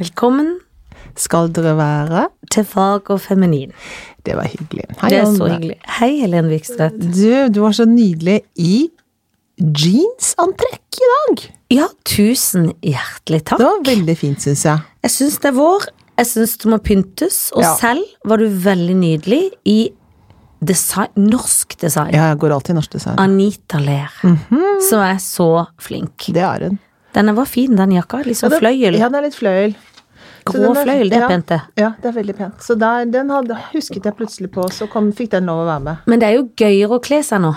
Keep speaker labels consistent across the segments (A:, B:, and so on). A: Velkommen
B: Skal dere være?
A: til Fag og feminin.
B: Det var hyggelig.
A: Det er så
B: Anne.
A: hyggelig. Hei, Helen Vikstvedt.
B: Du, du var så nydelig i jeansantrekk i dag.
A: Ja, tusen hjertelig
B: Det
A: takk.
B: var veldig fint, syns jeg.
A: Jeg syns det er vår. Jeg syns det må pyntes. Og
B: Ja.
A: selv var du veldig nydelig i design, norsk design.
B: Ja, Mhm. jeg går alltid i norsk design.
A: Anita Ler, som er så flink.
B: Det er hun.
A: Den var fin, den jakka. Litt sånn
B: Ja, det-
A: fløyel.
B: Ja, den er litt fløyel. Så
A: Grå
B: den er-
A: fløyel, det er
B: ja,
A: pent, det.
B: Ja, det er veldig pent. Så der, den hadde, husket jeg plutselig på, så kom, fikk den lov å være med.
A: Men det er jo gøyere å kle seg nå.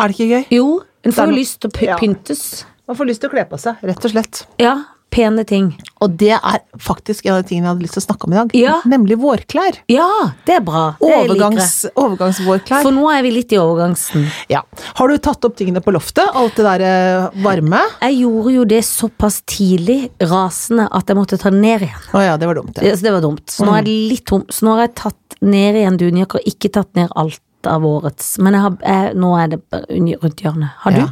B: Er det ikke gøy?
A: Jo, en får jo
B: Den-
A: lyst til å py-
B: ja.
A: pyntes.
B: Man får lyst til å kle på seg, rett og slett.
A: Ja, pene ting.
B: Og det er faktisk en av de tingene jeg hadde lyst til å snakke om i dag,
A: Ja.
B: nemlig vårklær.
A: Ja, det er bra. Det liker jeg.
B: Overgangs, overgangsvårklær.
A: For nå er vi litt i overgangsen.
B: Ja. Har du tatt opp tingene på loftet? Alt det der eh, varme?
A: Jeg gjorde jo det såpass tidlig, rasende, at jeg måtte ta den ned igjen.
B: Å ja, det var dumt.
A: Det, så det var dumt. Så nå er det
B: Mm.
A: litt tomt. Så nå har jeg tatt ned igjen dunjakker, ikke tatt ned alt av årets. Men jeg har, jeg, nå er det bare unn- rundt hjørnet. Har du?
B: Ja.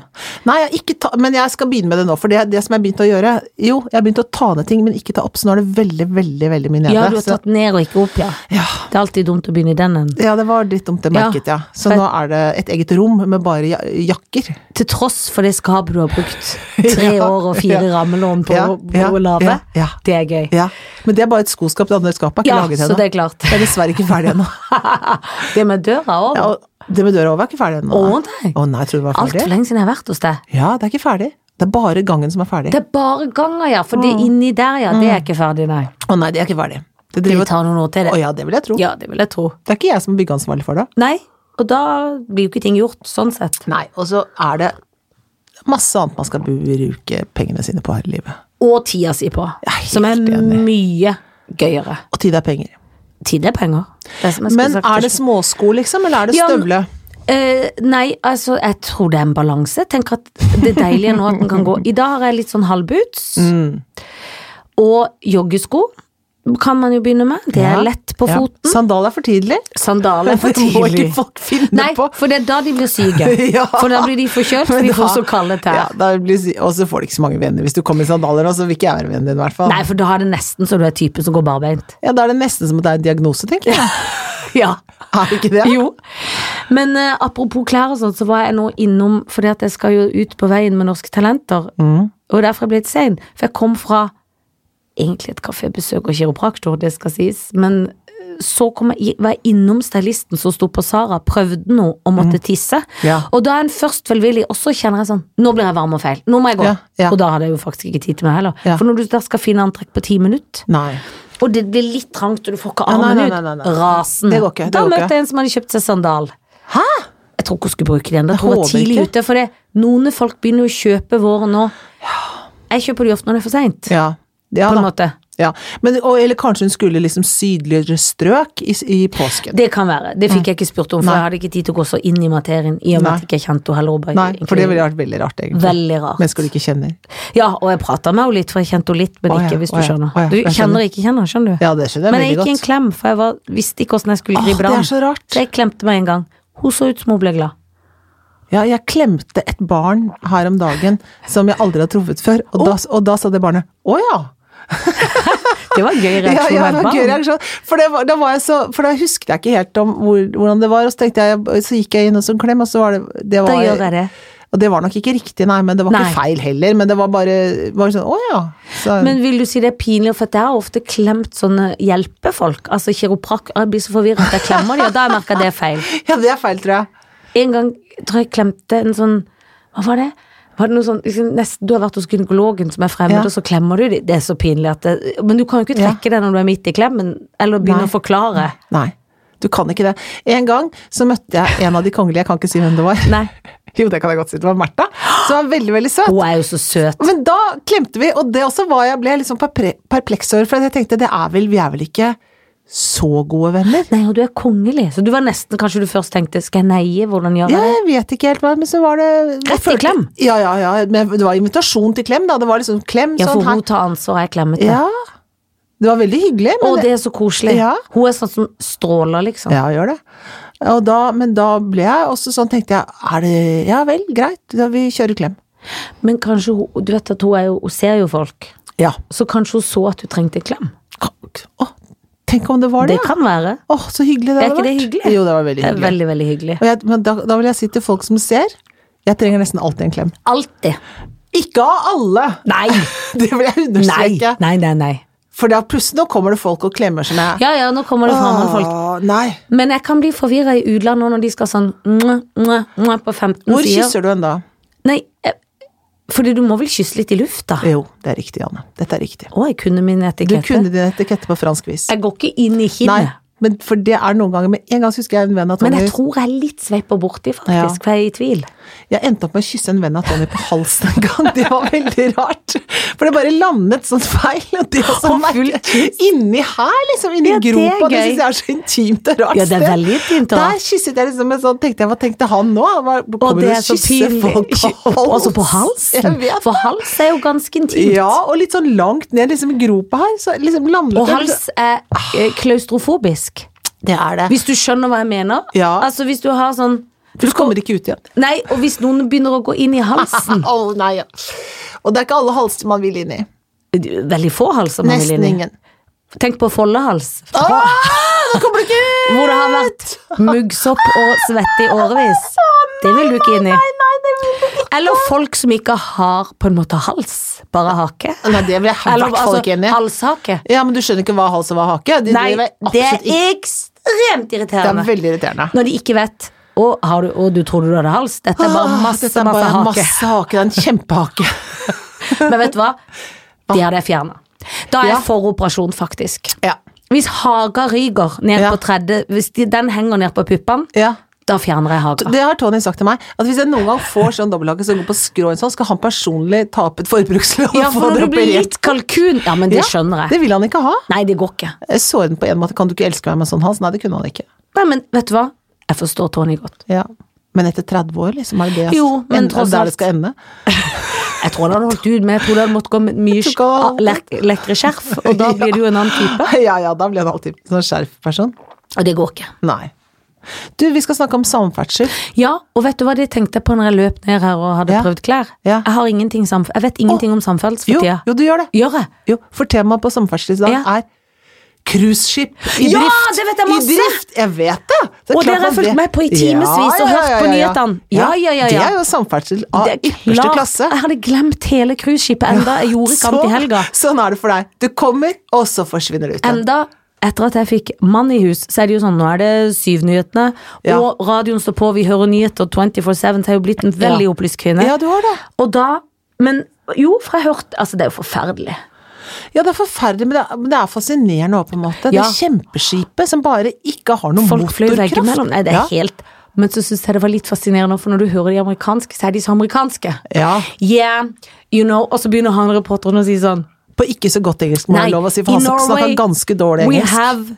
B: Nei, jeg har ikke ta, men jeg skal begynne med det nå. For det, det som jeg har begynt å gjøre Jo, jeg har begynt å ta ned ting, men ikke ta opp. Så nå er det veldig, veldig veldig mye nede.
A: Ja, du har
B: så,
A: tatt ned og ikke opp, ja.
B: ja.
A: Det er alltid dumt å begynne i den enden.
B: ja, det var litt dumt, det
A: Ja.
B: merket jeg. Så nå er det et eget rom med bare ja- jakker.
A: Til tross for det skapet du har brukt tre
B: Ja.
A: år og fire rammelån på,
B: Ja,
A: på
B: ja,
A: å lage,
B: ja, ja.
A: det er gøy.
B: Ja. Men det er bare et skoskap. Det andre skapet er ikke
A: Ja,
B: laget
A: så
B: ennå.
A: det er klart.
B: Jeg er dessverre ikke ferdig ennå.
A: Det med døra òg.
B: Ja, og det med døra over er ikke ferdig ennå.
A: Å, nei.
B: Å nei, jeg tror du var
A: Altfor
B: ferdig.
A: lenge siden jeg har vært hos deg.
B: Ja, det er ikke ferdig. Det er bare gangen som er ferdig.
A: Det er bare ganger, ja. For det inni der, ja, det er ikke ferdig, nei.
B: Å nei, det er ikke ferdig. Det
A: Mm. Vi
B: driver
A: tar noen år til
B: Å
A: det.
B: ja, det vil jeg tro.
A: Ja, det vil jeg tro.
B: Det er ikke jeg som er byggeansvarlig for det.
A: Nei, og da blir jo ikke ting gjort, sånn sett.
B: Nei, og så er det masse annet man skal bruke pengene sine på her i livet.
A: Og tida si på,
B: er helt
A: som er
B: enig.
A: mye gøyere.
B: Og tid er penger.
A: Tid er penger. Det er som jeg skulle
B: Men
A: sagt
B: er det
A: først.
B: småsko, liksom, eller er det
A: Ja, men-
B: støvle?
A: Eh, nei, altså, jeg tror det er en balanse. Tenk at det deilige nå at den kan gå. I dag har jeg litt sånn halvboots.
B: Mm.
A: Og joggesko kan man jo begynne med. Det er
B: Ja,
A: lett på
B: ja.
A: foten.
B: Sandal er for tidlig.
A: Sandaler er for
B: Det må ikke
A: tidlig.
B: folk finne
A: Nei,
B: på.
A: for det er da de blir syke.
B: Ja.
A: For da blir de forkjølt, for
B: Men
A: de
B: da-
A: får så kalde tær.
B: Ja, da blir, og så får du ikke så mange venner. Hvis du kommer i sandaler nå, så vil ikke jeg være vennen din, i hvert fall.
A: Nei, for da har det nesten så du er typen som går barbeint.
B: Ja, da er det nesten som at det er en diagnose, tenker jeg.
A: Ja.
B: Er det ikke det?
A: Jo. Men eh, apropos klær og sånt, så var jeg nå innom Fordi at jeg skal jo ut på veien med Norske Talenter.
B: Mm.
A: Og derfor er jeg ble litt sein. For jeg kom fra egentlig et kafébesøk og kiropraktor, det skal sies. Men eh, så kom jeg, i- var jeg innom stylisten som sto på Sara, prøvde noe og måtte tisse.
B: Mm. Ja.
A: Og da er en først velvillig, og så kjenner jeg sånn Nå blir jeg varm og feil. Nå må jeg gå.
B: Ja, ja.
A: Og da hadde jeg jo faktisk ikke tid til meg heller.
B: Ja.
A: For når du da skal finne antrekk på ti minutter
B: Nei.
A: og det blir litt trangt, og du får ikke
B: Ja, nei,
A: armen
B: nei, nei,
A: ut.
B: nei, nei.
A: Rasen.
B: Det går ikke, det
A: da
B: går
A: møtte
B: ikke.
A: jeg en som hadde kjøpt seg sandal.
B: Hæ?
A: Jeg tror ikke hun skulle bruke den. Jeg tror hun var
B: håper
A: tidlig
B: ikke.
A: ute. For det, noen folk begynner jo å kjøpe våre nå. Jeg kjøper de ofte når det er for seint.
B: Ja. ja
A: på en
B: da.
A: måte.
B: Ja. Men, og, eller kanskje hun skulle liksom sydligere strøk i, i påsken.
A: Det kan være. Det fikk jeg ikke spurt om, for
B: Nei.
A: jeg hadde ikke tid til å gå så inn i materien. I og med
B: Nei.
A: at jeg ikke kjente henne heller. og bare
B: Nei, for det
A: egentlig-
B: ville vært veldig rart, egentlig.
A: Veldig rart.
B: Mennesker du ikke kjenner.
A: Ja, og jeg prata med henne litt, for jeg kjente henne litt, men
B: Å ja,
A: ikke, hvis du
B: å ja,
A: skjønner.
B: å ja,
A: Du
B: jeg skjønner.
A: kjenner ikke kjenner, skjønner du.
B: Ja, det skjønner jeg
A: men jeg
B: veldig
A: gikk i en
B: godt.
A: klem, for jeg var, visste ikke åssen jeg skulle
B: Åh,
A: gripe
B: det
A: det
B: er
A: an.
B: så rart.
A: jeg klemte meg en gang. Hun så ut som hun ble glad.
B: Ja, jeg klemte et barn her om dagen som jeg aldri har truffet før, og, da, og da sa det barnet 'Å ja'.
A: Det var en gøy
B: Ja,
A: reaksjon av et
B: ja, det var
A: barn.
B: gøy reaksjon. For, det var, da var jeg så, for da husket jeg ikke helt om hvor, hvordan det var, og så, tenkte jeg, så gikk jeg inn og så en klem, og så var det, det var,
A: Da gjør jeg det.
B: Og det var nok ikke riktig, nei, men det var
A: Nei.
B: ikke feil heller. Men det var bare, bare sånn 'Å ja'. Så,
A: Men vil du si det er pinlig, for at jeg har ofte klemt sånne hjelpefolk, altså kiroprakk, og jeg blir så forvirret at jeg klemmer dem, og da har jeg merket det er feil.
B: ja, det er feil, tror jeg.
A: En gang tror jeg jeg klemte en sånn, hva var det? Var det noe sånn, liksom, nesten, du har vært hos gynekologen som er fremmed,
B: Ja.
A: og så klemmer du dem. Det er så pinlig at det, men du kan jo ikke trekke det når du er midt i klemmen, eller begynne
B: Nei.
A: å forklare.
B: Nei, du kan ikke det. En gang så møtte jeg en av de kongelige, jeg kan ikke si hvem det var.
A: Nei.
B: Jo, det kan jeg godt si. Det var Märtha, som var veldig, veldig søt.
A: Hun er jo så søt.
B: Men da klemte vi, og det også var jeg ble litt sånn perpre- perpleks over, for jeg tenkte det er vel, vi er vel ikke så gode venner?
A: Nei, og du er kongelig, så du var nesten, kanskje du først tenkte, skal jeg neie, hvordan gjør
B: Ja,
A: jeg det?
B: jeg vet ikke helt hva, men så var det jeg
A: Rett i
B: følte-
A: klem?
B: Ja, ja, ja. Men det var invitasjon til klem, da. Det var liksom klem
A: Ja, for
B: sånn her.
A: hun tar ansvar, jeg klemmet det.
B: Ja. Det var veldig hyggelig, men
A: Å, det er så koselig.
B: Ja.
A: Hun er sånn som stråler, liksom.
B: Ja, gjør det. Og da, men da ble jeg også sånn, tenkte jeg, er det Ja vel, greit, da vi kjører klem.
A: Men kanskje hun Du vet at hun, er jo, hun ser jo folk.
B: Ja.
A: Så kanskje hun så at du trengte en klem.
B: Å, tenk om det var det,
A: Det
B: ja!
A: kan være.
B: Å, så hyggelig
A: Er
B: det hadde
A: ikke det
B: vært.
A: hyggelig?
B: Jo, det var veldig
A: Det er
B: hyggelig.
A: veldig, veldig hyggelig.
B: Og jeg, men da, da vil jeg si til folk som ser, jeg trenger nesten alltid en klem.
A: Alltid.
B: Ikke av alle!
A: Nei.
B: Det vil jeg
A: Nei.
B: understreke.
A: nei, nei, nei.
B: For da plutselig nå kommer det folk og klemmer som jeg
A: Ja ja, nå kommer det fremmede folk.
B: Åh, Nei.
A: Men jeg kan bli forvirra i utlandet når de skal sånn mwah, mwah, mwah, på 15
B: Hvor
A: sider.
B: kysser du en da?
A: Nei, jeg- fordi du må vel kysse litt i lufta? Å,
B: Jo, det er riktig, Janne. Dette er riktig.
A: jeg kunne min
B: Du
A: etikette.
B: kunne din etikette på fransk vis.
A: Jeg går ikke inn i
B: Nei,
A: kinnet.
B: men for det er noen ganger Med en gang så husker jeg en venn av
A: Men
B: Tony
A: jeg
B: jeg,
A: tror jeg er litt sveiper borti,
B: Ja.
A: faktisk, for jeg er i tvil.
B: endte opp med å kysse en venn av Tony på halsen en gang. Det var veldig rart. For det bare landet sånn feil. Og det også
A: Og full
B: merke- Inni her, liksom. Inni
A: Ja, det er
B: gropa. Det
A: gøy.
B: syns jeg er så intimt og rart.
A: Ja, det er
B: sted.
A: veldig intimt og rart.
B: Der kysset jeg liksom en sånn Tenkte jeg, hva tenkte han nå? Hva-
A: Og
B: Kommer
A: det
B: du
A: er
B: og
A: så
B: kysser
A: pinlig.
B: folk på hals?
A: Også på halsen.
B: Jeg vet
A: For hals er jo ganske intimt.
B: Ja, og litt sånn langt ned liksom i gropa her. Så liksom landet
A: Og
B: jeg-
A: hals er eh, klaustrofobisk.
B: Det er det.
A: Hvis du skjønner hva jeg mener.
B: Ja.
A: Altså hvis du har sånn
B: For du kommer ikke ut igjen.
A: Nei, og hvis noen begynner å gå inn i halsen
B: Å, nei, ja. Og det er ikke alle halser man vil inn i.
A: Veldig få halser man vil
B: Nesten
A: inn i.
B: ingen.
A: Tenk på foldehals.
B: Åh, nå kommer du ikke ut!
A: Hvor det har vært muggsopp og svette i årevis. Det vil du ikke inn i. Eller folk som ikke har på en måte hals, bare hake.
B: Nei, det vil jeg i
A: Eller altså,
B: hvert fall ikke inn i.
A: halshake.
B: Ja, men du skjønner ikke hva hals og hva hake? Det,
A: Nei,
B: driver jeg
A: det
B: absolutt ikke.
A: er ekstremt
B: Det er
A: irriterende.
B: veldig irriterende.
A: Når de ikke vet Å, har du, å du trodde du hadde hals? Dette er bare
B: Åh,
A: masse,
B: Ah, dette er
A: masse
B: bare
A: hake.
B: masse hake. Det er en kjempehake.
A: Men vet du hva? De hadde jeg fjerna. Da er
B: Ja.
A: jeg for operasjon, faktisk.
B: Ja.
A: Hvis haga ryker ned
B: Ja.
A: på tredje Hvis de, den henger ned på puppene,
B: ja.
A: da fjerner jeg haga.
B: Det har Tony sagt til meg, at hvis jeg noen gang får sånn dobbelthake som går på skrå, og sånn, skal han personlig ta opp et forbrukslån
A: Ja,
B: og få
A: for
B: det
A: når du blir
B: operert.
A: litt kalkun Ja, men det
B: Ja,
A: skjønner jeg.
B: Det vil han ikke ha.
A: Nei, det går ikke.
B: Jeg så den på en måte, kan du ikke elske meg med sånn hals? Nei, det kunne han ikke.
A: Nei, men vet du hva? Jeg forstår Tony godt.
B: Ja. Men etter 30 år, liksom, er det det
A: Jo, men
B: ender,
A: tross alt.
B: der det skal ende?
A: Jeg tror det hadde holdt ut, men jeg tror det hadde måttet gå med mye
B: Du kan-
A: sk- lek- lekre skjerf, og da blir det jo en annen type.
B: Ja, ja, da blir han alltid sånn skjerfperson.
A: Og det går ikke.
B: Nei. Du, vi skal snakke om samferdsel.
A: Ja, og vet du hva de tenkte på når jeg løp ned her og hadde
B: Ja.
A: prøvd klær?
B: Ja.
A: Jeg har ingenting samf Jeg vet ingenting om samferdsel
B: Jo,
A: for tida.
B: jo, du gjør det.
A: Gjør jeg?
B: Jo, for temaet på samferdsel i dag
A: Ja.
B: er cruiseskip i
A: Ja,
B: drift.
A: det vet jeg masse!
B: I drift, jeg vet det! det er
A: Og
B: klart
A: dere har
B: man
A: fulgt
B: vet-
A: med på i timevis og hørt på nyhetene. Ja, ja, ja, ja.
B: Det er jo samferdsel av
A: Det er
B: ypperste
A: klart,
B: klasse.
A: Jeg hadde glemt hele cruiseskipet enda jeg gjorde kamp i helga.
B: Sånn er det for deg. Du kommer, og så forsvinner du ut igjen.
A: Enda etter at jeg fikk mann i hus, så er det jo sånn, nå er det syvnyhetene,
B: Ja.
A: og radioen står på, vi hører nyheter 24-7, så jeg er jo blitt en veldig
B: Ja.
A: opplyst kvinne.
B: Ja, du har det.
A: Og da, men jo, for jeg hørte, altså det er jo forferdelig.
B: Ja, det er forferdelig, men det er, men det er fascinerende òg, på en måte.
A: Ja.
B: Det kjempeskipet som bare ikke har noen
A: Folk fløy
B: motorkraft.
A: veggimellom, nei det er
B: ja.
A: helt, men så synes jeg det var litt fascinerende, for når du hører de amerikanske, så er de så amerikanske.
B: Ja.
A: Yeah, you know, og så begynner han reporteren å si sånn,
B: På ikke så godt engelsk, må
A: Nei,
B: jeg lov å si,
A: i
B: for han
A: Norway,
B: snakker ganske dårlig
A: We
B: engelsk.
A: have,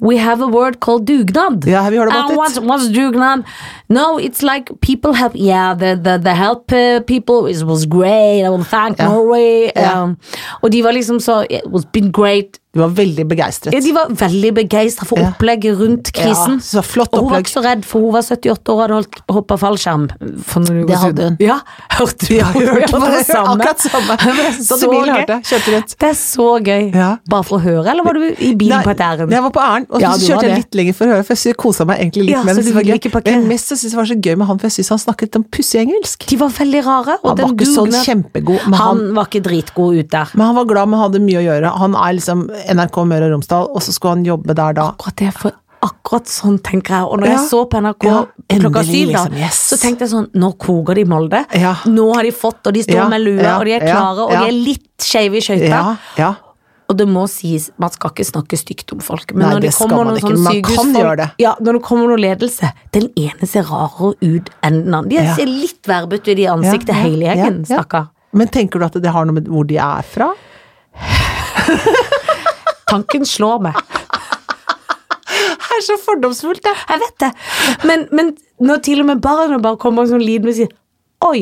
A: we have a word called dugnad.
B: Yeah, have you heard about
A: And
B: it?
A: What's, what's dugnad? No, it's like people help. Yeah, the, the, the help uh, people it was great. I will thank Norway.
B: Ja.
A: Um, og de var liksom så It was been great.
B: Du var veldig begeistret.
A: Ja, de var veldig begeistra for
B: Ja.
A: opplegget rundt krisen.
B: Ja, så flott
A: og hun var
B: opplegg.
A: ikke så redd, for hun var 78 år og hadde hoppa fallskjerm. For noen uker
B: Det hadde
A: siden.
B: hun.
A: Ja, hørte du?
B: Ja, jeg hørte
A: Ja, det var
B: det. Akkurat samme.
A: Men det er
B: Satt i
A: så
B: bilen og
A: gøy.
B: hørte. Kjørte rundt.
A: Det er så gøy.
B: Ja.
A: Bare for å høre, eller var du i bilen på et ærend?
B: jeg var på æren, og
A: Ja, du
B: så
A: var
B: kjørte jeg
A: det.
B: litt lenger for å høre, for jeg kosa meg egentlig litt
A: Ja,
B: med
A: så
B: det.
A: du
B: så det var
A: ville
B: gøy.
A: ikke parkere.
B: Men mest så synes jeg det var så gøy med han, for jeg syns han snakket om pussig engelsk.
A: De var veldig rare. Og
B: Han
A: den
B: var ikke sånn
A: dugnad-
B: kjempegod, men
A: han,
B: han-
A: var ikke dritgod ut der.
B: Men han var glad, men hadde mye å gjøre. Han er liksom NRK Møre og Romsdal, og så skulle han jobbe der da.
A: Akkurat, det, for akkurat sånn tenker jeg. Og når
B: Ja.
A: jeg så på NRK
B: Ja,
A: klokka
B: endelig,
A: syv, da,
B: liksom, yes.
A: så tenkte jeg sånn Nå koker de i Molde.
B: Ja.
A: Nå har de fått, og de står
B: Ja,
A: med lue,
B: ja,
A: og de er
B: ja,
A: klare, og
B: ja.
A: de er litt skeive i skøyta.
B: Ja, ja.
A: Og det må sies, man skal ikke snakke stygt om folk, men
B: Nei,
A: når det,
B: det skal
A: kommer
B: man
A: noen
B: ikke,
A: sånne
B: men man kan gjøre
A: sykehusfolk
B: det.
A: ja, Når det kommer noe ledelse, den ene ser rarere ut enn den andre. De
B: Ja.
A: ser litt verbete ut i ansiktet,
B: Ja, ja,
A: hele gjengen,
B: ja, ja.
A: stakkar.
B: Men tenker du at det har noe med hvor de er fra?
A: Tanken slår meg.
B: Det er så fordomsfullt, det.
A: Jeg vet det. Men, men når til og med barna bare kommer og sånn lidende og sier oi.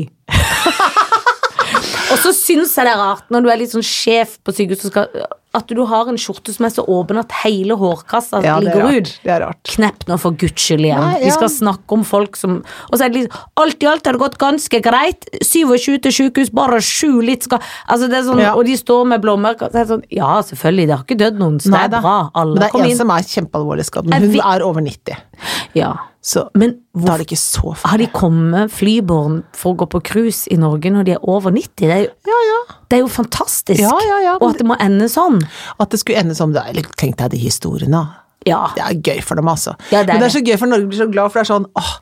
A: og så syns jeg det er rart når du er litt sånn sjef på sykehuset og skal At du har en skjorte som er så åpen at hele hårkassa
B: Ja, det er
A: ligger
B: rart.
A: ut.
B: Det er rart.
A: Knepp nå, for guds skyld igjen.
B: Nei,
A: Vi
B: ja.
A: skal snakke om folk som Og så er det liksom Alt i alt har det gått ganske greit. 27 til sykehus, bare sju litt skal Altså, det er sånn
B: Ja.
A: Og de står med blåmerker. Så er det sånn Ja, selvfølgelig, det har ikke dødd noen, så det
B: Nei da.
A: er bra.
B: Men det
A: Alle
B: er
A: kom
B: en
A: inn.
B: som er kjempealvorlig skadd,
A: Jeg
B: men hun
A: vet-
B: er over 90.
A: Ja.
B: Så
A: Men
B: da
A: hvorfor
B: er det ikke så
A: har
B: farlig.
A: de kommet flyborn for å gå på cruise i Norge når de er over 90? Det er jo,
B: Ja, ja.
A: det er jo fantastisk.
B: Ja, ja, ja,
A: Og at det må ende sånn.
B: At det skulle ende som det. Eller tenk deg de historiene. da.
A: Ja.
B: Det er gøy for dem, altså.
A: Ja, det er
B: Men det
A: det.
B: er så gøy for Norge, blir så glad, for det er sånn åh,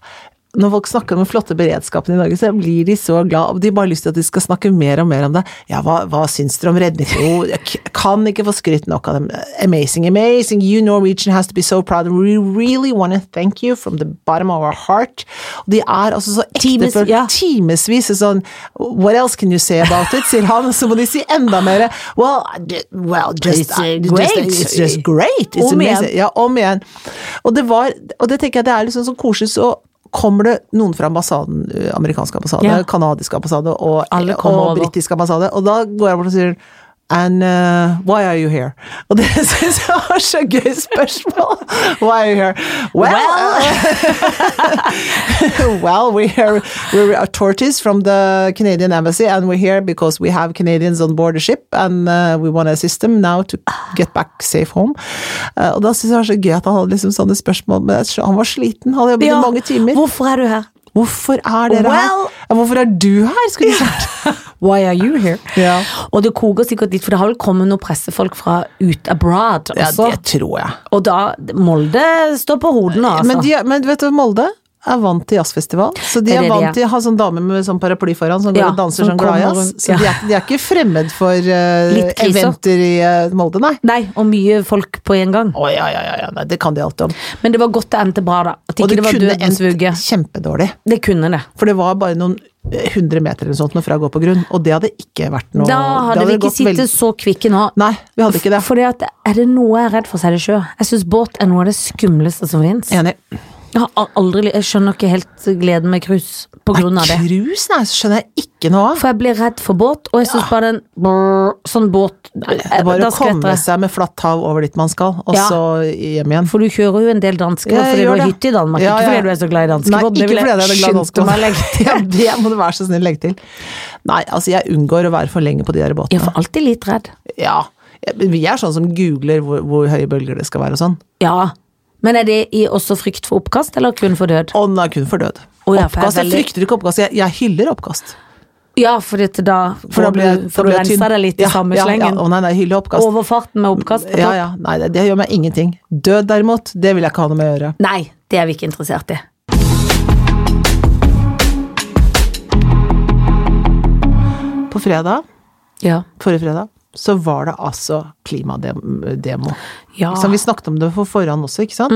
B: når folk snakker om den flotte beredskapen i Norge, så blir de så glad, og de bare har lyst til at de skal snakke mer og mer om det. Ja, hva, hva syns dere om redning? Jo, jeg k- kan ikke få skrytt nok av dem. Amazing, amazing. You Norwegian has to be so proud. We really want to thank you from the bottom of our heart. Og de er altså så
A: Times-
B: ektefølt
A: ja.
B: timevis sånn What else can you say about it? sier han. Så må de si enda mer. Well, d- well just,
A: It's, uh,
B: just-
A: great.
B: it's just great. It's
A: Om igjen.
B: amazing. Ja, om igjen. Og det var, og det tenker jeg det er liksom så koselig, så kommer det noen fra ambassaden, eh, amerikansk ambassade,
A: Ja.
B: kanadisk ambassade og,
A: Alle kommer
B: og
A: over.
B: britisk ambassade, og da går jeg bort og sier And eh, why are you here? Og det syns jeg var så gøy spørsmål! Why are you here? Well, well, we are we're a tortoise from the Canadian embassy, and we're here because we have Canadians on board the ship, and uh, we want to assist them now to get back safe home. Uh, og da synes jeg det var så gøy at han hadde liksom sånne spørsmål, men jeg skjø- han var sliten, han hadde jobbet
A: Ja.
B: i mange timer.
A: Hvorfor er du her?
B: Hvorfor er dere
A: Well-
B: her? Ja, hvorfor er du her, skulle du sagt.
A: Why are you here?
B: Ja.
A: Og det koker sikkert litt, for det har vel kommet noen pressefolk fra ut abroad
B: Ja,
A: også.
B: det tror jeg.
A: Og da Molde står på hodet nå, altså.
B: Men, de, men vet du, Molde er vant til jazzfestival, så de
A: Det er
B: er,
A: det de
B: vant
A: er.
B: til å ha sånn dame med sånn paraply foran som går
A: Ja,
B: og danser
A: som
B: sånn gladjazz.
A: kommer rundt,
B: Så de er, de er ikke fremmed for eh,
A: Litt kriser.
B: eventer i eh, Molde, nei.
A: Nei, og mye folk på en gang.
B: Å ja, ja, ja, ja, nei, det kan de alt om.
A: Men det var godt det endte bra, da. At
B: Og
A: ikke
B: det
A: det var
B: kunne
A: dødens vugge.
B: endt kjempedårlig,
A: Det kunne det.
B: for det var bare noen eh, hundre meter eller noe sånt nå fra å gå på grunn, og det hadde ikke vært noe
A: Da hadde vi
B: det
A: ikke
B: gått
A: sittet
B: veldig-
A: så kvikke nå.
B: Nei, vi hadde ikke det.
A: Fordi at er det noe jeg er redd for, så er det sjø. Jeg syns båt er noe av det skumleste som fins.
B: Enig.
A: Jeg, har al- aldri- jeg skjønner ikke helt gleden med cruise på grunn
B: Nei,
A: av det.
B: cruise, nei, så skjønner jeg ikke noe av.
A: For jeg blir redd for båt, og jeg syns bare den brrr, Sånn båt eh,
B: Det er bare
A: Da
B: å komme
A: skvetter jeg.
B: seg med flatt hav over dit man skal, og
A: Ja.
B: så hjem igjen.
A: For du kjører jo en del dansker
B: Ja, jeg
A: fordi du
B: gjør
A: har
B: det.
A: hytte i Danmark.
B: Ja,
A: Ikke
B: ja.
A: fordi du er så glad i danske
B: Nei,
A: båt.
B: ikke fordi jeg er glad i danske
A: skynde meg å legge til.
B: Ja, det må du være så snill legge til. Nei, altså jeg unngår å være for lenge på de der
A: Jeg er
B: båtene.
A: for alltid litt redd.
B: Ja. Jeg- Vi er sånn som googler hvor, hvor høye bølger det skal være og sånn.
A: Ja. Men er det i også frykt for oppkast, eller kun for død?
B: Og den er kun for død.
A: Å ja, for jeg er
B: oppkast, jeg
A: veldig-
B: frykter ikke oppkast, jeg, jeg hyller oppkast.
A: Ja, fordi at da
B: For da
A: får
B: blir jeg-
A: du,
B: da
A: får du
B: blir jeg
A: rensa
B: tynn.
A: deg litt i
B: Ja,
A: samme
B: ja,
A: slengen.
B: Ja, å nei, nei, hyller oppkast.
A: Overfarten med oppkast på topp.
B: Ja, ja, nei, det, det gjør meg ingenting. Død derimot, det vil jeg ikke ha noe med å gjøre.
A: Nei, det er vi ikke interessert i.
B: På fredag,
A: Ja.
B: forrige fredag, så var det altså klimademo.
A: Ja.
B: Som vi snakket om det på forhånd også, ikke sant?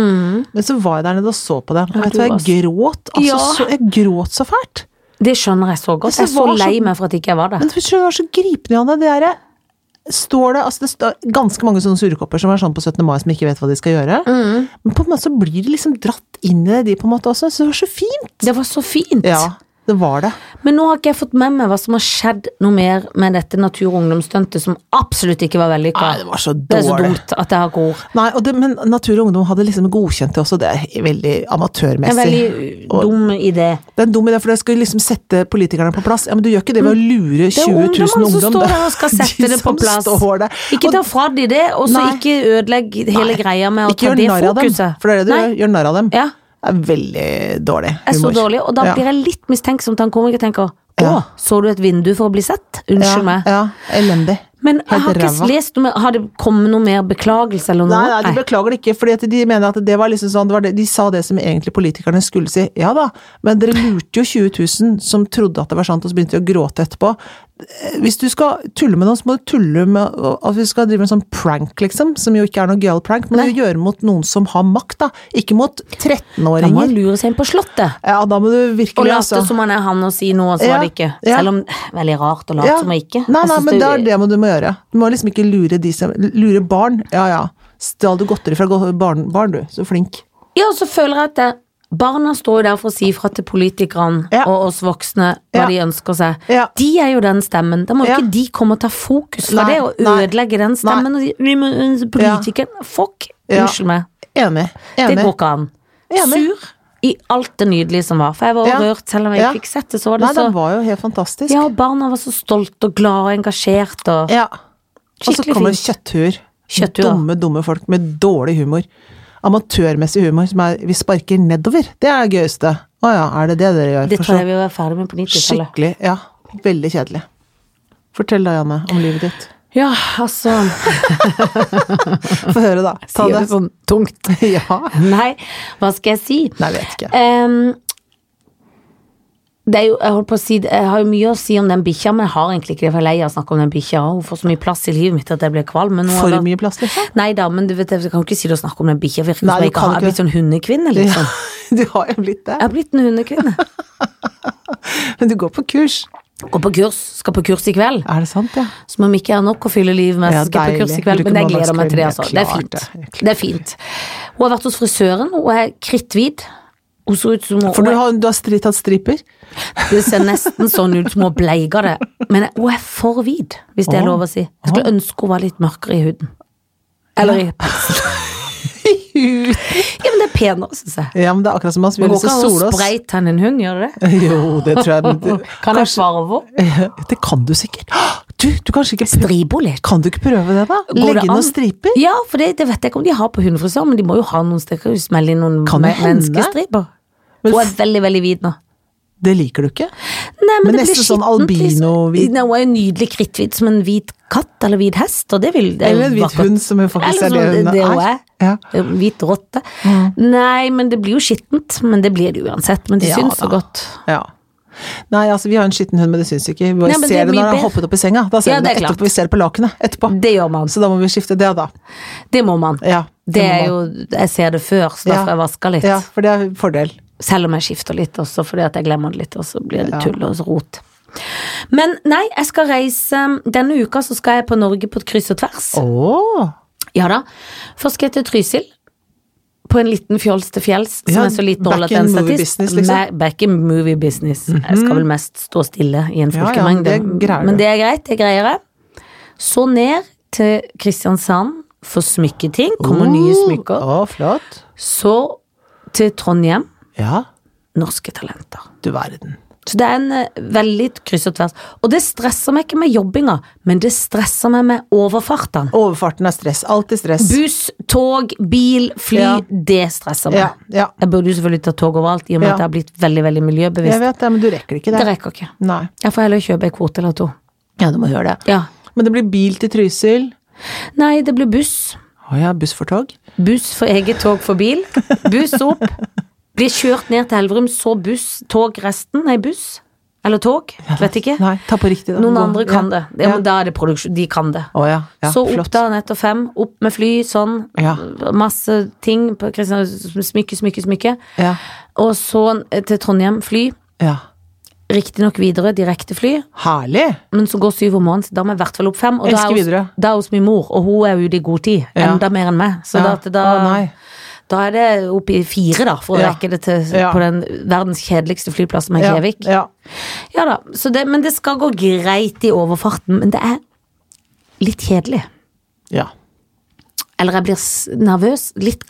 B: Men så var jeg der nede og så på det. Og vet Mm. du
A: du
B: hva,
A: også.
B: jeg gråt. Altså,
A: Ja.
B: så, jeg gråt så fælt.
A: Det skjønner jeg så godt.
B: Altså,
A: Jeg er så
B: hva så-
A: lei meg for at ikke jeg var der.
B: Men du skjønner, det var så gripende, Janne. Det derre Står det Altså, det står ganske mange sånne surkopper som er sånn på 17. mai som ikke vet hva de skal gjøre. Men på en måte så blir de liksom dratt inn i det, de på en måte også. Så det var så fint.
A: Det var så fint.
B: Ja, det var det.
A: Men nå har ikke jeg fått med meg hva som har skjedd noe mer med dette natur- og ungdomsstuntet som absolutt ikke var vellykka.
B: Nei, det var så
A: Det er så
B: dårlig.
A: dumt at jeg har ikke ord.
B: Nei, og det, men Natur og Ungdom hadde liksom godkjent det også, det er veldig
A: Det er en
B: amatørmessig.
A: veldig uh, dum idé.
B: Det er en dum idé, for det skal liksom sette politikerne på plass. Ja, Men du gjør ikke det ved å lure 20 000
A: Mm. Det er
B: ungdom.
A: ungdommene som står
B: da.
A: der og skal sette
B: De
A: det på
B: som
A: plass.
B: står der.
A: Ikke
B: Og-
A: ta fra de det, og så
B: Nei.
A: ikke ødelegg hele
B: Nei,
A: greia med å
B: Ikke
A: ta
B: gjør
A: det
B: narr av dem,
A: fokuset.
B: for det er det du
A: Nei.
B: gjør. Gjør narr av dem.
A: Ja.
B: Det er veldig dårlig humor.
A: er så dårlig, og da blir jeg litt mistenksom til han komikeren tenker Å,
B: Ja.
A: så du et vindu for å bli sett? Unnskyld meg.
B: Ja, elendig.
A: Men jeg har
B: Helt ræva.
A: ikke lest noe mer Har det kommet noe mer beklagelse eller noe?
B: Nei, nei, de beklager det ikke, fordi at de mener at det var liksom sånn, det var det, de sa det som egentlig politikerne skulle si. Ja da, men dere lurte jo 20 000 som trodde at det var sant, og så begynte de å gråte etterpå. Eh, Hvis du skal tulle med noen, så må du tulle med og- at vi skal drive med en sånn prank, liksom, som jo ikke er noe gøyal prank, men du gjør mot noen som har makt, da. Ikke mot
A: Da må
B: 13-åringer.
A: han lure seg inn på Slottet.
B: Ja, da må du virkelig,
A: Og
B: altså.
A: late som han er han og si noe, og så
B: Ja,
A: var det ikke.
B: ja.
A: Selv om Veldig rart å late som han ikke.
B: Nei,
A: Jeg
B: nei,
A: synes
B: men det er det må du må gjøre. Du må liksom ikke lure de som Lure barn. Ja ja. Stjal du godteri fra go- barn, barn, du. Så flink.
A: Ja, og så føler jeg at det, Barna står jo der for å si fra til politikerne
B: Ja.
A: og oss voksne hva
B: Ja.
A: de ønsker seg.
B: Ja.
A: De er jo den stemmen. Da må jo
B: Ja.
A: ikke de komme og ta fokus fra
B: Nei,
A: det og
B: nei.
A: ødelegge den stemmen. Og si, vi må, politikeren Fuck!
B: Ja.
A: Unnskyld meg.
B: Enig.
A: Det
B: Enig.
A: går ikke an.
B: Enig.
A: Sur i alt det nydelige som var. For jeg var
B: Ja.
A: rørt, selv om jeg
B: Ja.
A: ikke fikk sett det. Så var det
B: Nei, det
A: så
B: var jo helt fantastisk.
A: Ja, og barna var så stolte og glade og engasjerte og
B: Ja. Og så
A: Skikkelig
B: kommer
A: fint.
B: kjøtthur.
A: Kjøtthur, ja.
B: Dumme, dumme folk med dårlig humor. Amatørmessig humor som er vi sparker nedover. Det er det gøyeste. Å ja, er det det dere gjør?
A: Det
B: For
A: tror
B: så-
A: jeg vi var ferdig med på 90-tallet.
B: Skikkelig. Ja. Veldig kjedelig. Fortell da, Janne, om livet ditt.
A: Ja, altså
B: Få høre, da. Ta
A: Sier det
B: det.
A: sånn tungt.
B: Ja.
A: Nei, hva skal jeg si?
B: Nei, jeg vet ikke.
A: Ehm, det er jo, jeg holdt på å si det- Jeg har jo mye å si om den bikkja, men jeg har egentlig ikke det. For jeg er lei av å snakke om den bikkja. og Hun får så mye plass i livet mitt at jeg blir kvalm. Men nå har
B: For
A: jeg-
B: mye plass, liksom.
A: Nei da, men du vet, jeg kan jo ikke si det å snakke om den bikkja. Virker som
B: Nei,
A: jeg
B: du
A: ikke
B: kan
A: har jeg er blitt
B: ikke.
A: sånn hundekvinne, liksom.
B: Du har jo blitt
A: Jeg
B: det.
A: har blitt en hundekvinne.
B: Men du går på kurs.
A: Går på kurs. Skal på kurs i kveld.
B: Er det sant, ja?
A: Som om ikke jeg har nok å fylle livet med,
B: Ja,
A: så skal jeg på kurs i
B: deilig.
A: kveld.
B: Bruker
A: Men jeg gleder meg til det,
B: mandagskvelden,
A: altså. Det
B: ja,
A: er
B: klart
A: fint.
B: det.
A: Det er fint. Hun har vært hos frisøren, og er kritthvit. Hun ser ut som hun,
B: For du
A: hun er-
B: har, du har stri- tatt striper?
A: Det ser nesten sånn ut som hun bleiker det. Men hun er for hvit, hvis det er
B: Åh.
A: lov å si. Jeg skulle ønske hun var litt mørkere i huden. Eller i pelsen. Ja, men det er penere, syns jeg.
B: Ja, men det er akkurat som man
A: Det
B: vil
A: går ikke an å
B: sole oss.
A: spreite henne en hund, gjør det det?
B: Jo, det tror jeg. men det-
A: Kan jeg svare over?
B: Eh, Det kan du sikkert. Du, du kanskje ikke prø-
A: Dribo litt.
B: Kan du ikke prøve det, da?
A: Går det
B: Legge inn
A: an?
B: noen striper?
A: Ja, for det, det vet jeg ikke om de har på hundefrisør, men de må jo ha noen stykker. jo Smelle inn noen
B: Kan
A: me-
B: det hende?
A: menneskestriper.
B: Men
A: Hun er
B: f-
A: veldig, veldig hvit nå.
B: Det liker du ikke?
A: Nei,
B: Men
A: det blir
B: nesten sånn
A: skittent, liksom.
B: albino-hvit.
A: Nei, Hun er jo nydelig kritthvit som en hvit katt eller hvit hest, og det vil det er jo
B: Eller en hvit
A: vakkert.
B: hund, som jo faktisk
A: Eller
B: er det
A: sånn,
B: hun
A: det
B: er.
A: hun er.
B: Ja. Mm.
A: Hvit rotte. Nei, men det blir jo skittent. Men det blir det uansett. Men det
B: Ja
A: syns så
B: da.
A: godt.
B: Ja. Nei, altså, vi har en skitten hund, men det syns vi ikke. Vi bare
A: Nei, men det
B: ser
A: er
B: det,
A: mye
B: når han
A: bedre.
B: har hoppet opp i senga. Da ser
A: Ja,
B: vi
A: det
B: det
A: er klart.
B: etterpå. Vi ser det på lakenet etterpå.
A: Det gjør man.
B: Så da må vi skifte det, da.
A: Det må man.
B: Ja,
A: Det
B: må
A: er
B: man.
A: jo Jeg ser det før, så da
B: Ja.
A: får jeg vaska litt.
B: Ja, for det er en fordel.
A: Selv om jeg skifter litt også, fordi at jeg glemmer det litt, og så blir det
B: Ja.
A: tull og rot. Men nei, jeg skal reise Denne uka så skal jeg på Norge på et kryss og tvers.
B: Åh,
A: Ja da. Først skal jeg til Trysil. På en liten fjols til fjells som
B: Ja,
A: er så liten
B: back
A: rolle at
B: in
A: en
B: movie
A: statist
B: business, liksom.
A: Nei,
B: Mhm.
A: Back in movie business. Jeg skal vel mest stå stille i en
B: Ja, ja,
A: folkemengde.
B: men det greier du.
A: men det er greit, det greier jeg. Så ned til Kristiansand for smykketing. Kommer
B: Oh.
A: nye smykker.
B: Å, flott.
A: Så til Trondheim.
B: Ja,
A: Norske talenter.
B: du verden.
A: Så det er en eh, veldig kryss og tvers. Og det stresser meg ikke med jobbinga, men det stresser meg med overfartene.
B: Overfarten er stress. Alltid stress.
A: Buss, tog, bil, fly,
B: Ja.
A: det stresser meg.
B: Ja, ja.
A: Jeg burde jo selvfølgelig ta tog overalt, i og med
B: Ja.
A: at jeg har blitt veldig veldig
B: Jeg
A: miljøbevisst.
B: vet det, men du rekker ikke det.
A: Det rekker ikke.
B: Nei.
A: Jeg får heller kjøpe ei kvote eller to.
B: Ja, du må gjøre det.
A: Ja.
B: Men det blir bil til Trysil.
A: Nei, det blir buss.
B: Å ja, buss for tog.
A: Buss for eget tog for bil. Buss opp. Blir kjørt ned til Elverum, så buss, tog resten. Nei, buss. Eller tog. Vet ikke.
B: Nei, ta på riktig. da.
A: Noen
B: Gå-
A: andre kan
B: ja.
A: det. Ja, men da er det produksjon. De kan det.
B: Å ja. ja
A: så opp
B: flott.
A: da etter fem. Opp med fly, sånn.
B: Ja.
A: Masse ting. på Kristiansand- Smykke, smykke, smykke.
B: Ja.
A: Og så eh, til Trondheim fly.
B: ja.
A: Riktignok videre direktefly,
B: Herlig!
A: men så går syv om morgenen, så da må jeg i hvert fall opp fem. Og da
B: Elsker
A: er,
B: videre.
A: hos, da er hos min mor, og hun er ute i god tid.
B: Ja.
A: Enda mer enn meg. Så
B: Ja.
A: da, da,
B: Å, nei.
A: da er det opp i fire, da, for å
B: Ja.
A: rekke det til
B: Ja.
A: på den verdens kjedeligste flyplassen, som er
B: Ja,
A: Gjevik. Ja.
B: ja.
A: da, så det, men det skal gå greit i overfarten. Men det er litt kjedelig.
B: Ja.
A: Eller jeg blir s- nervøs. Litt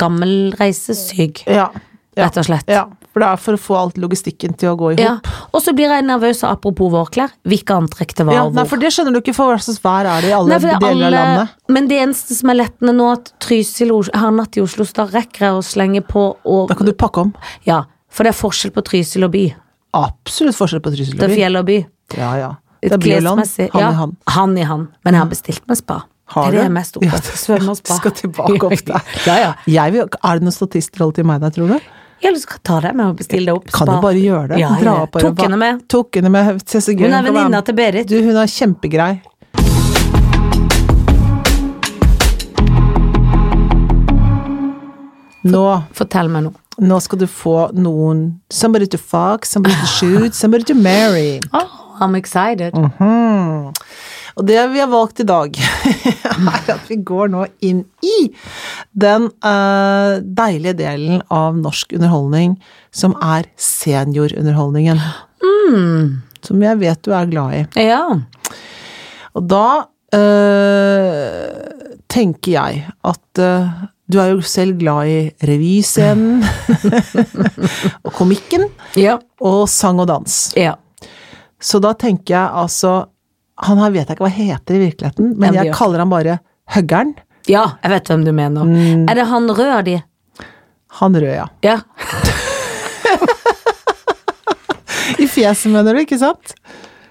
A: gammelreisesyk,
B: ja. ja.
A: rett og slett.
B: Ja, for det er for å få alt logistikken til å gå i hop.
A: Ja. Og så blir jeg nervøs, og apropos vårklær, hvilke antrekk det var.
B: Ja,
A: og
B: nei,
A: hvor.
B: for det skjønner du ikke, for hva slags vær er det i alle
A: Nei, for det er
B: deler av
A: alle-
B: landet?
A: Men det eneste som er lettende nå, at Trysil og Os- har natt i Oslo, så da rekker jeg å slenge på og
B: Da kan du pakke om.
A: Ja, for det er forskjell på Trysil og by.
B: Absolutt forskjell på Trysil
A: Det
B: og
A: er
B: by.
A: fjell og by.
B: Ja, ja.
A: Et
B: Det er Bjørland,
A: klesmessig-
B: han
A: ja,
B: i han.
A: Han i han. Men jeg har bestilt meg spa. det er
B: Har
A: det
B: du?
A: jeg er mest
B: Ja,
A: opptatt
B: du
A: av.
B: skal-
A: Svømme og spa.
B: Skal tilbake opp der.
A: ja, ja.
B: Jeg vil, er det noen statistrolle til meg der, tror du?
A: Jeg har lyst til å ta deg med og bestille deg opp
B: Kan du bare gjøre det?
A: Ja, ja.
B: Dra opp og-
A: Tok henne med.
B: Tok henne med. Se så gøy
A: Hun er
B: får være med.
A: venninna til Berit.
B: Du, hun er kjempegrei. Nå,
A: Fortell meg noe.
B: nå skal du få noen Somebody to fuck, somebody to shoot, somebody to marry.
A: Oh, I'm excited.
B: Mm. Hmm. Og det vi har valgt i dag, er at vi går nå inn i den eh, deilige delen av norsk underholdning som er seniorunderholdningen. Som jeg vet du er glad i.
A: Ja.
B: Og da eh, tenker jeg at eh, du er jo selv glad i revyscenen og komikken
A: Ja.
B: og sang og dans.
A: ja.
B: Så da tenker jeg altså Han her vet jeg ikke hva heter i virkeligheten, men
A: Ja,
B: jeg
A: Bjørk.
B: kaller han bare Høggern.
A: Ja, jeg vet hvem du mener.
B: Mm.
A: Er det han rød av de?
B: Han røde, ja.
A: Ja.
B: I fjeset, mener du, ikke sant?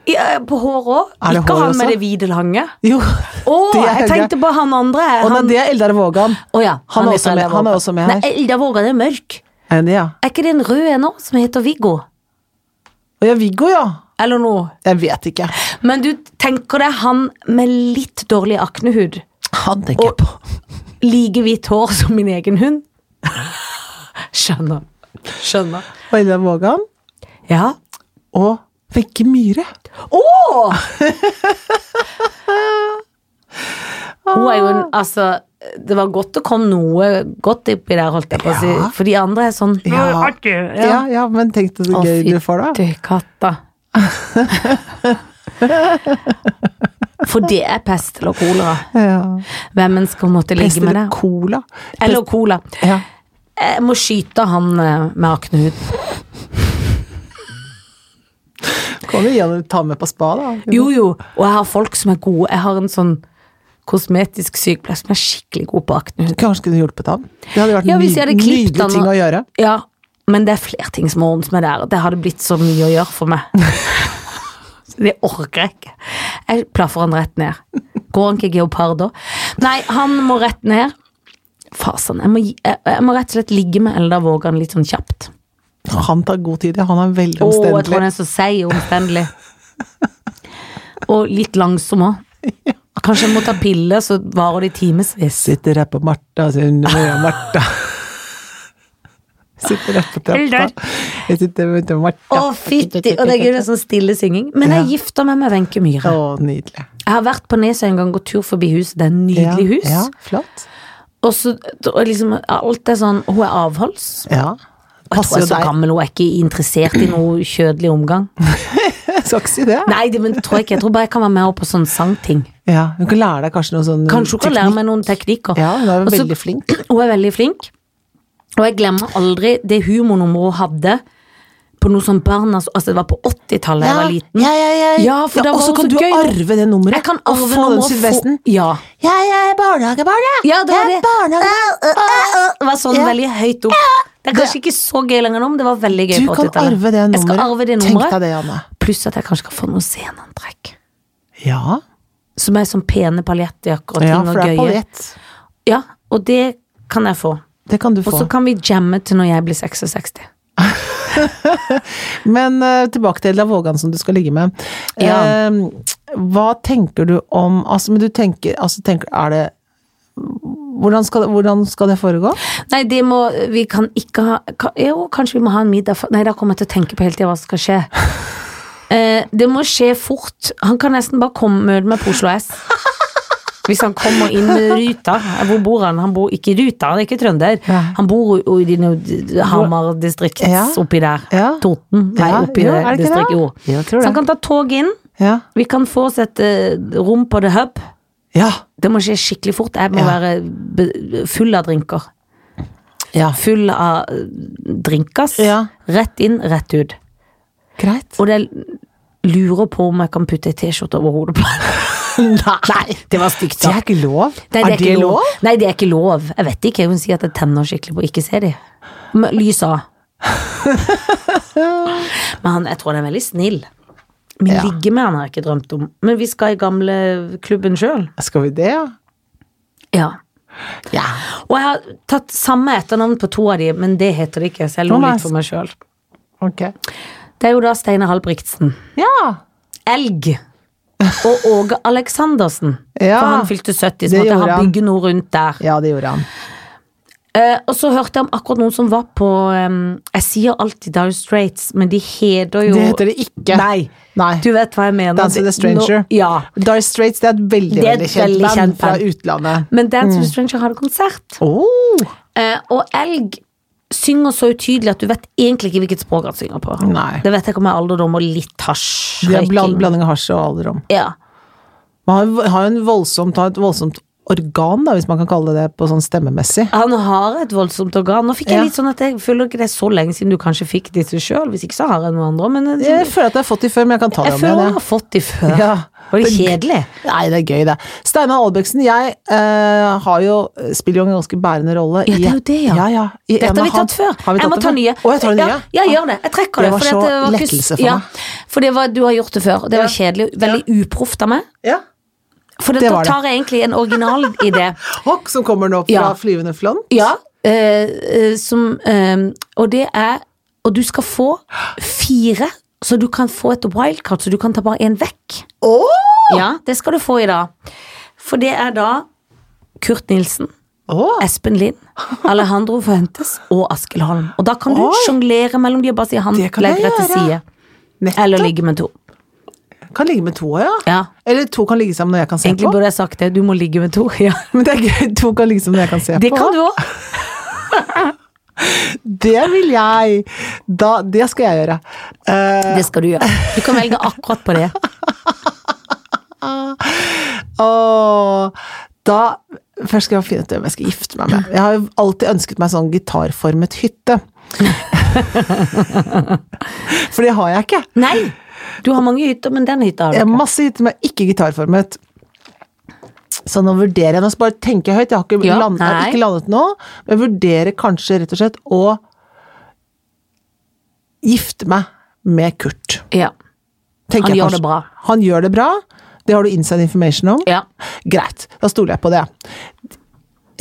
A: ja på håret òg?
B: Er det
A: Ikke
B: hår
A: han
B: også?
A: med det hvite lange?
B: Jo.
A: Å,
B: Det er
A: jeg
B: Helge.
A: tenkte på han andre.
B: Og
A: Han,
B: nei, det er Eldar Vågan.
A: Å ja,
B: han er også
A: fra
B: med-
A: Eldar
B: han er
A: Vågan.
B: også med her.
A: Nei, Eldar Vågan er mørk.
B: Er det, ja.
A: Er ikke det en rød en òg, som heter Viggo?
B: Og ja, Viggo, ja.
A: Eller noe?
B: Jeg vet ikke.
A: Men du tenker deg han med litt dårlig aknehud.
B: Han tenker jeg på.
A: Like hvitt hår som min egen hund. Skjønner. Skjønner.
B: Og Eldar Vågan
A: Ja.
B: og Wenche Myhre.
A: Å! Hun er jo en Altså, det var godt det kom noe godt oppi der, holdt jeg på å si.
B: Ja.
A: For de andre er sånn
B: Ja, ja, ja men tenk deg så
A: Å,
B: gøy du får, da.
A: fytti katta. For det er pest eller kolera.
B: Ja.
A: Hvem en skal måtte ligge
B: Pest
A: med
B: eller
A: det.
B: cola.
A: Eller cola.
B: Ja.
A: Jeg må skyte han eh, med aknehud.
B: Mm. Kan du gjerne ta med på spa, da.
A: Jo, jo. Og jeg har folk som er gode. Jeg har en sånn kosmetisk sykepleier som er skikkelig god på aknehud.
B: Kanskje kunne hjulpet ham. Det hadde vært
A: Ja,
B: en ny,
A: hvis jeg hadde klippet
B: nydelig
A: han
B: ting
A: og-
B: å gjøre.
A: Ja, men det er flere ting som må ordnes med der. Det hadde blitt så mye å gjøre for meg. Så det orker jeg ikke. Jeg plaffer han rett ned. Går han ikke geopard da? Nei, han må rett ned. Fasen. Jeg må, gi- jeg, jeg må rett og slett ligge med Eldar Vågan litt sånn kjapt.
B: Han tar god tid, ja. Han er veldig
A: Å, jeg tror han
B: omstendelig.
A: er så seig og omstendelig. Og litt langsom òg. Kanskje jeg må ta piller, så varer det i timevis.
B: Sitter her på Martha sin mor Martha. Sitter her på
A: Eldar.
B: trappa. Jeg sitter med til
A: Å,
B: Martha.
A: fytti! Og det er gøy med sånn stille synging. Men jeg gifter meg med Wenche
B: Å,
A: Myhre.
B: nydelig.
A: Jeg har vært på Nesøy en gang, gått tur forbi huset. Det er et nydelig hus.
B: Ja, flott.
A: Og så og liksom alt er sånn Hun er avholds.
B: Ja.
A: Og jeg tror
B: Passer
A: jeg
B: jo
A: er så
B: deg.
A: gammel, hun er ikke interessert i noe kjødelig omgang.
B: Jeg skal ikke si det.
A: Nei, det, men det tror jeg ikke. Jeg tror bare jeg kan være med henne på sånn sangting.
B: Ja, hun kan lære deg kanskje noe sånn
A: Kanskje hun kan lære meg noen teknikker.
B: Ja, hun er jo
A: Og så-
B: veldig flink.
A: Hun er veldig flink. Og jeg glemmer aldri det humornummeret hun hadde på noe sånn barnas Altså, det var på 80-tallet jeg var liten.
B: Ja, ja, ja.
A: Ja, for da
B: og
A: var hun
B: så kan
A: så
B: du
A: gøy, da.
B: arve det nummeret.
A: Jeg kan
B: og
A: arve
B: få den
A: nummeret og få-
B: sydvesten.
A: Ja.
B: ja, jeg er barnehagebarn, jeg.
A: Ja, det var
B: jeg
A: det.
B: er barnehagebarn.
A: Det var sånn
B: Ja.
A: veldig høyt opp. Det er kanskje ikke så gøy lenger nå, men det var veldig gøy
B: Du
A: på
B: kan
A: 80-tallet.
B: arve det nummeret.
A: Jeg skal arve det
B: Tenk deg
A: nummeret.
B: det, Janne.
A: Pluss at jeg kanskje kan få noen sceneantrekk.
B: Ja,
A: Som er sånn pene paljettjakker og ting
B: ja for det
A: og
B: er
A: gøye.
B: paljett.
A: Ja, og det kan jeg få.
B: Det kan du
A: Og
B: få.
A: så kan vi jamme til når jeg blir 66.
B: Men eh, tilbake til Eldar Vågan som du skal ligge med.
A: Ja.
B: Eh, hva tenker du om Altså, men du tenker, altså, tenker Er det hvordan skal, hvordan skal det foregå?
A: Nei, det må Vi kan ikke ha ka- Jo, kanskje vi må ha en middag for- Nei, da kommer jeg til å tenke på hele tida hva som skal skje. Eh, det må skje fort. Han kan nesten bare komme og møte meg på Oslo S. Hvis han kommer inn med ruta. Hvor bor han? Han bor ikke i ruta, han er ikke trønder.
B: Nei.
A: Han bor jo i de- Hamar-distrikt
B: Ja.
A: oppi der.
B: Ja.
A: Toten. Nei,
B: Ja,
A: oppi det
B: jo, er det ikke
A: distriktet.
B: det?
A: Jo.
B: Jo, jeg tror
A: Så han
B: det.
A: kan ta tog inn.
B: Ja.
A: Vi kan få oss et eh, rom på The Hub.
B: Ja.
A: Det må skje skikkelig fort. Jeg må
B: Ja.
A: være be- full av drinker
B: ja.
A: full av eh, drinkas.
B: Ja.
A: Rett inn, rett ut.
B: Greit.
A: Og det lurer på om jeg kan putte ei T-skjorte over hodet på henne. Nei, det var stygt
B: Det er
A: sagt.
B: ikke lov.
A: Nei,
B: er, det
A: ikke
B: lov?
A: Nei, det er ikke lov. Jeg vet ikke. Hun sier at jeg tenner skikkelig på å ikke se de. Men Lys av. Men han, jeg tror han er veldig snill. Men
B: Ja.
A: ligge med han har jeg ikke drømt om. Men vi skal i gamle klubben sjøl.
B: Skal vi det, ja?
A: Ja.
B: Ja.
A: Og jeg har tatt samme etternavn på to av de, men det heter det ikke, så jeg lo
B: Å, nei.
A: litt for meg sjøl.
B: Ok.
A: Det er jo da Steinar Halbrigtsen.
B: Ja.
A: Elg og Åge Aleksandersen.
B: Ja.
A: For han fylte 70, så
B: Det
A: måtte
B: gjorde
A: han
B: han.
A: bygge noe rundt der.
B: Ja, det gjorde han.
A: Eh, og så hørte jeg om akkurat noen som var på eh, Jeg sier alltid Dire Straits, men de heter jo
B: Det heter det ikke.
A: Nei.
B: Nei.
A: Du vet hva jeg mener.
B: Dance with a Stranger.
A: Nå, ja.
B: Dire Straits det er et veldig,
A: Det er et
B: veldig kjent
A: veldig
B: band
A: kjent
B: fra
A: band.
B: utlandet.
A: Men Dance
B: Mm.
A: with a Stranger hadde konsert.
B: Oh.
A: Eh, og elg synger så utydelig at du vet egentlig ikke hvilket språk han synger på.
B: Nei.
A: Det vet jeg ikke om er alderdom og litt hasj.
B: Det er bland,
A: røyking.
B: blanding av hasj og alderom.
A: Ja.
B: Man har jo- har jo en voldsomt, har et voldsomt organ, da, hvis man kan kalle det det, på sånn stemmemessig.
A: Han har et voldsomt organ. Nå fikk
B: Ja.
A: jeg litt sånn at jeg føler ikke det er så lenge siden du kanskje fikk disse sjøl, hvis ikke så har jeg noen andre. Men eh, jeg,
B: Jeg føler at jeg har fått de før, men jeg kan ta
A: jeg
B: dem
A: føler jeg
B: igjen.
A: har fått de før.
B: Ja.
A: Var det
B: Det-
A: kjedelig?
B: jeg. Nei, det er gøy, det. Steinar Albrigtsen, jeg eh, har jo, spiller jo en ganske bærende rolle
A: Ja, det er
B: i-
A: jo det, ja.
B: ja, ja. I en
A: Dette har vi
B: av han-
A: tatt før.
B: Har vi tatt
A: jeg må
B: det
A: ta
B: før?
A: nye.
B: Å, jeg tar nye?
A: Ja, jeg gjør det. Jeg trekker det.
B: Det var
A: fordi
B: så
A: at ikke
B: lettelse
A: s-
B: for
A: ja,
B: meg.
A: For det var, du har gjort det før, og det var
B: Ja.
A: kjedelig. Veldig uproft av meg.
B: Ja.
A: For
B: Det
A: da
B: var det.
A: tar jeg egentlig en original idé.
B: Hokk som kommer nå fra
A: Ja.
B: flyvende flånn.
A: Ja. eh, eh, som eh, Og det er Og du skal få fire, så du kan få et wildcard, så du kan ta bare én vekk.
B: Åh!
A: Ja, det skal du få i dag. For det er da Kurt Nilsen.
B: Åh!
A: Espen Lind, Alejandro Fuentes og Askild Holm. Og da kan du
B: Oi.
A: sjonglere mellom de og bare si han
B: Det kan jeg
A: legger det til
B: gjøre.
A: side.
B: Nettopp.
A: Eller ligge med to.
B: Kan ligge med to, ja.
A: Ja.
B: Eller to kan ligge sammen når jeg kan se
A: Egentlig
B: på.
A: burde jeg sagt det. Du må ligge med to. Ja.
B: Men det er gøy, to kan ligge sammen når jeg kan se
A: Det
B: på.
A: kan du òg.
B: Det vil jeg! Da, det skal jeg gjøre. Eh,
A: Det skal du gjøre. Du kan velge akkurat på det.
B: og da Først skal jeg finne ut hvem jeg skal gifte meg med. Jeg har jo alltid ønsket meg sånn gitarformet hytte. For det har jeg ikke.
A: Nei! Du har mange hytter, men den hytta har
B: Jeg
A: du
B: har
A: ikke.
B: masse hytter, men ikke gitarformet. Så nå vurderer jeg, nå bare tenker jeg høyt, jeg har ikke,
A: Ja,
B: landet, jeg har
A: nei.
B: ikke landet nå, men jeg vurderer kanskje rett og slett å gifte meg med Kurt.
A: Ja.
B: tenker
A: Han
B: jeg
A: gjør
B: kanskje.
A: det bra.
B: Han gjør det bra, det har du inside information om.
A: ja.
B: Greit, da stoler jeg på det.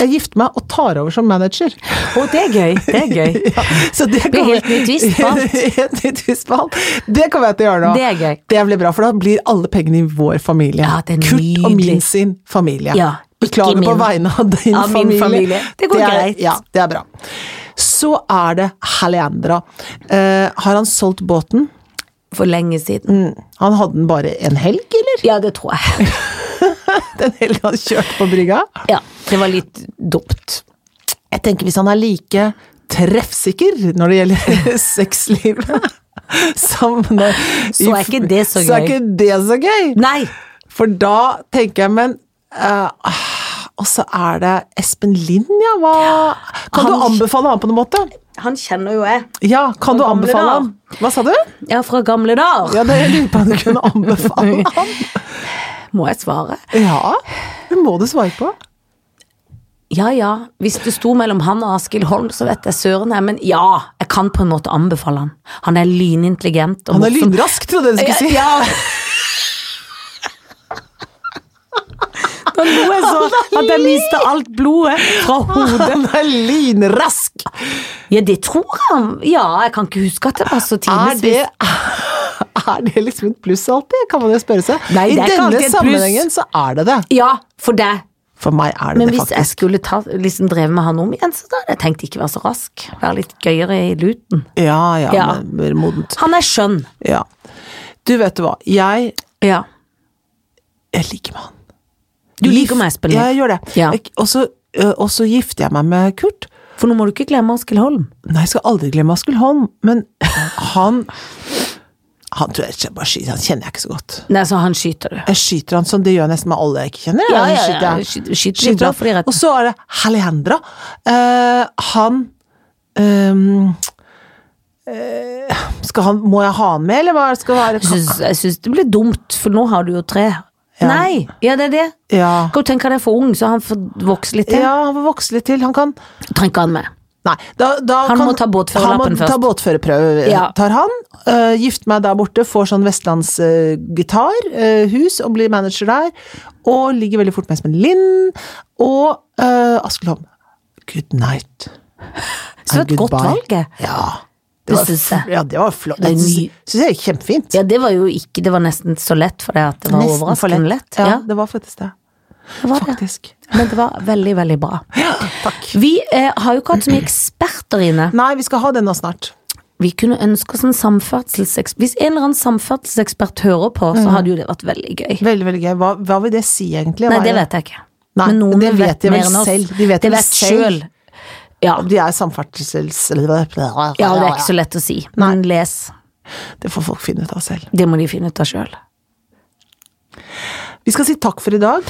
B: Jeg gifter meg og tar over som manager.
A: Og det er gøy. Det er gøy.
B: Ja, så det
A: blir
B: kommer-
A: helt ny twist på alt.
B: Helt ny twist på alt. Det kommer jeg til å gjøre nå.
A: Det er gøy.
B: Det blir bra, for da blir alle pengene i vår familie.
A: Ja, det er
B: Kurt og
A: nydelig.
B: min sin familie.
A: Ja, ikke
B: Beklager på
A: min.
B: vegne av din
A: Av min
B: familie.
A: familie. Det går
B: er,
A: greit.
B: Ja, det er bra. Så er det Haleandra. Eh, har han solgt båten?
A: For lenge siden.
B: Mm. Han hadde den bare en helg, eller?
A: Ja, det tror jeg.
B: Den helgen han kjørte på brygga?
A: Ja, Det var litt dumt.
B: Jeg tenker hvis han er like treffsikker når det gjelder sexlivet som når,
A: Så er ikke det så
B: Så er
A: gøy.
B: ikke det så gøy.
A: Nei!
B: For da tenker jeg, men eh, ah, Og så er det Espen Lind, ja. Hva Kan du
A: Han-
B: anbefale han på noen måte?
A: Han kjenner jo jeg.
B: Ja, kan
A: Fra
B: du
A: gamle
B: anbefale
A: dager.
B: han? Hva sa du?
A: Ja, fra gamle dager.
B: Ja, det jeg lurer på om du kunne anbefale han.
A: Må jeg svare?
B: Ja, det må du svare på.
A: Ja ja, hvis det sto mellom han og Askild Holm, så vet jeg søren jeg, men ja, jeg kan på en måte anbefale han. Han er lynintelligent og
B: Han er
A: morsom.
B: lynrask, trodde jeg du skulle si.
A: Ja, ja. Da lo jeg så at jeg mista alt blodet fra hodet.
B: Han er lynrask!
A: Ja, det tror jeg han Ja, jeg kan ikke huske at det var så
B: Er
A: timevis.
B: det, er det liksom et pluss alltid, kan man jo spørre seg.
A: Nei,
B: I
A: det er ikke
B: denne
A: alltid et pluss.
B: sammenhengen så er det det.
A: Ja, for deg.
B: For meg er det
A: Men
B: det,
A: hvis jeg
B: faktisk.
A: skulle ta, liksom drevet med han om igjen, så da hadde jeg tenkt ikke være så rask. Være litt gøyere i luten.
B: Ja, ja,
A: Ja.
B: men mer modent.
A: Han er skjønn.
B: Ja. Du, vet du hva. Jeg,
A: Ja.
B: jeg liker med han.
A: Du liker meg, Espen Lind.
B: Ja, jeg gjør det.
A: Ja.
B: Jeg- Og så øh, og så gifter jeg meg med Kurt.
A: For nå må du ikke glemme Askild Holm.
B: Nei, jeg skal aldri glemme Askild Holm, men han Han tror jeg ikke bare skyter, han kjenner jeg ikke så godt.
A: Nei, så han skyter du.
B: Jeg skyter han sånn, det gjør jeg nesten med alle jeg ikke kjenner.
A: Ja,
B: Jeg
A: ja, ja.
B: skyter-
A: Skyter- skyter de bare fordi rett-
B: Og så er det Alejandra. Eh, han ehm, eh, skal han, Må jeg ha han med, eller hva skal det
A: Jeg
B: være?
A: syns, jeg syns det blir dumt, for nå har du jo tre. Nei! Ja, det er det.
B: Ja.
A: Kan du tenke deg for ung, så han får vokse litt til?
B: ja, han får vokse litt til. Han kan
A: Trenger ikke han med.
B: Nei, da, da
A: Han
B: kan,
A: må ta båtførerlappen
B: han må Ta
A: først.
B: båtførerprøve
A: Ja.
B: tar han. eh, gift meg der borte, får sånn vestlandsgitarhus eh, og blir manager der. Og ligger veldig fort med Espen Lind og uh, Askild Holm. Good night.
A: Så
B: and
A: det var et godt
B: goodbye.
A: valg. jeg.
B: Ja.
A: Det
B: var
A: syns jeg.
B: fl- Ja, det var flott.
A: Det er
B: Det
A: ny-
B: syns syns jeg er kjempefint.
A: Ja, det var jo ikke Det var nesten så lett for deg at det var
B: Nesten for
A: overraskende lett.
B: Ja,
A: Ja.
B: det var faktisk det.
A: Det var det.
B: faktisk.
A: Men det var veldig, veldig bra.
B: Takk.
A: Vi eh, har jo ikke hatt så mye eksperter inne.
B: Nei, vi skal ha den nå snart.
A: Vi kunne ønske oss en samferdselsekspert. Hvis en eller annen samferdselsekspert hører på, så
B: Mm.
A: hadde jo det vært veldig gøy.
B: Veldig, veldig gøy. Hva, hva vil det si, egentlig?
A: Nei,
B: Hva er
A: det vet jeg ikke.
B: Nei,
A: Men noen
B: det vet de
A: mer
B: vel
A: enn oss.
B: selv. De vet
A: det
B: vel
A: vet selv.
B: selv.
A: Ja.
B: Om de er samferdsels...
A: ja, det er ikke så lett å si. Men les.
B: Det får folk finne ut av selv.
A: Det må de finne ut av sjøl.
B: Vi skal si takk for i dag.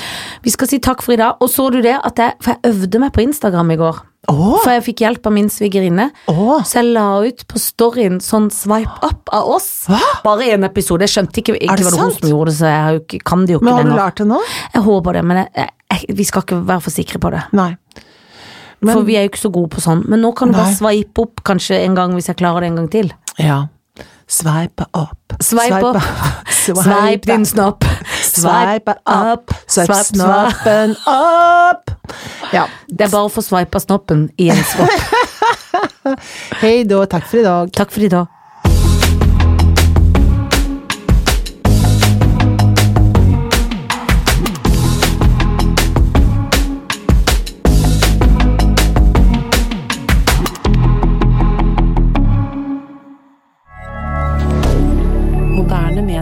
A: Vi skal si takk for i dag. Og så du det at jeg For jeg øvde meg på Instagram i går.
B: Åh!
A: For jeg fikk hjelp av min svigerinne.
B: Åh!
A: Så jeg la ut på storyen sånn swipe up av oss.
B: Hva?
A: Bare én episode. Jeg skjønte ikke
B: Er det
A: egentlig hva det var hun
B: sant?
A: som gjorde det, så jeg har jo ikke, kan det jo ikke
B: Men har du
A: lenger.
B: lært det nå?
A: Jeg håper det, men jeg, jeg, vi skal ikke være for sikre på det.
B: Nei. Men-
A: for vi er jo ikke så gode på sånn. Men nå kan du bare
B: Nei.
A: sveipe opp kanskje en gang, hvis jeg klarer det en gang til.
B: Ja. Sveipe opp.
A: Sveip opp. Sveip
B: Sveip
A: din snopp. Sveip
B: Sveipe opp.
A: opp.
B: Sveip
A: Sveip snopp.
B: snoppen opp. Ja.
A: Det er bare å få sveipa snoppen i en svopp.
B: Hei da, takk for i dag.
A: Takk for i dag.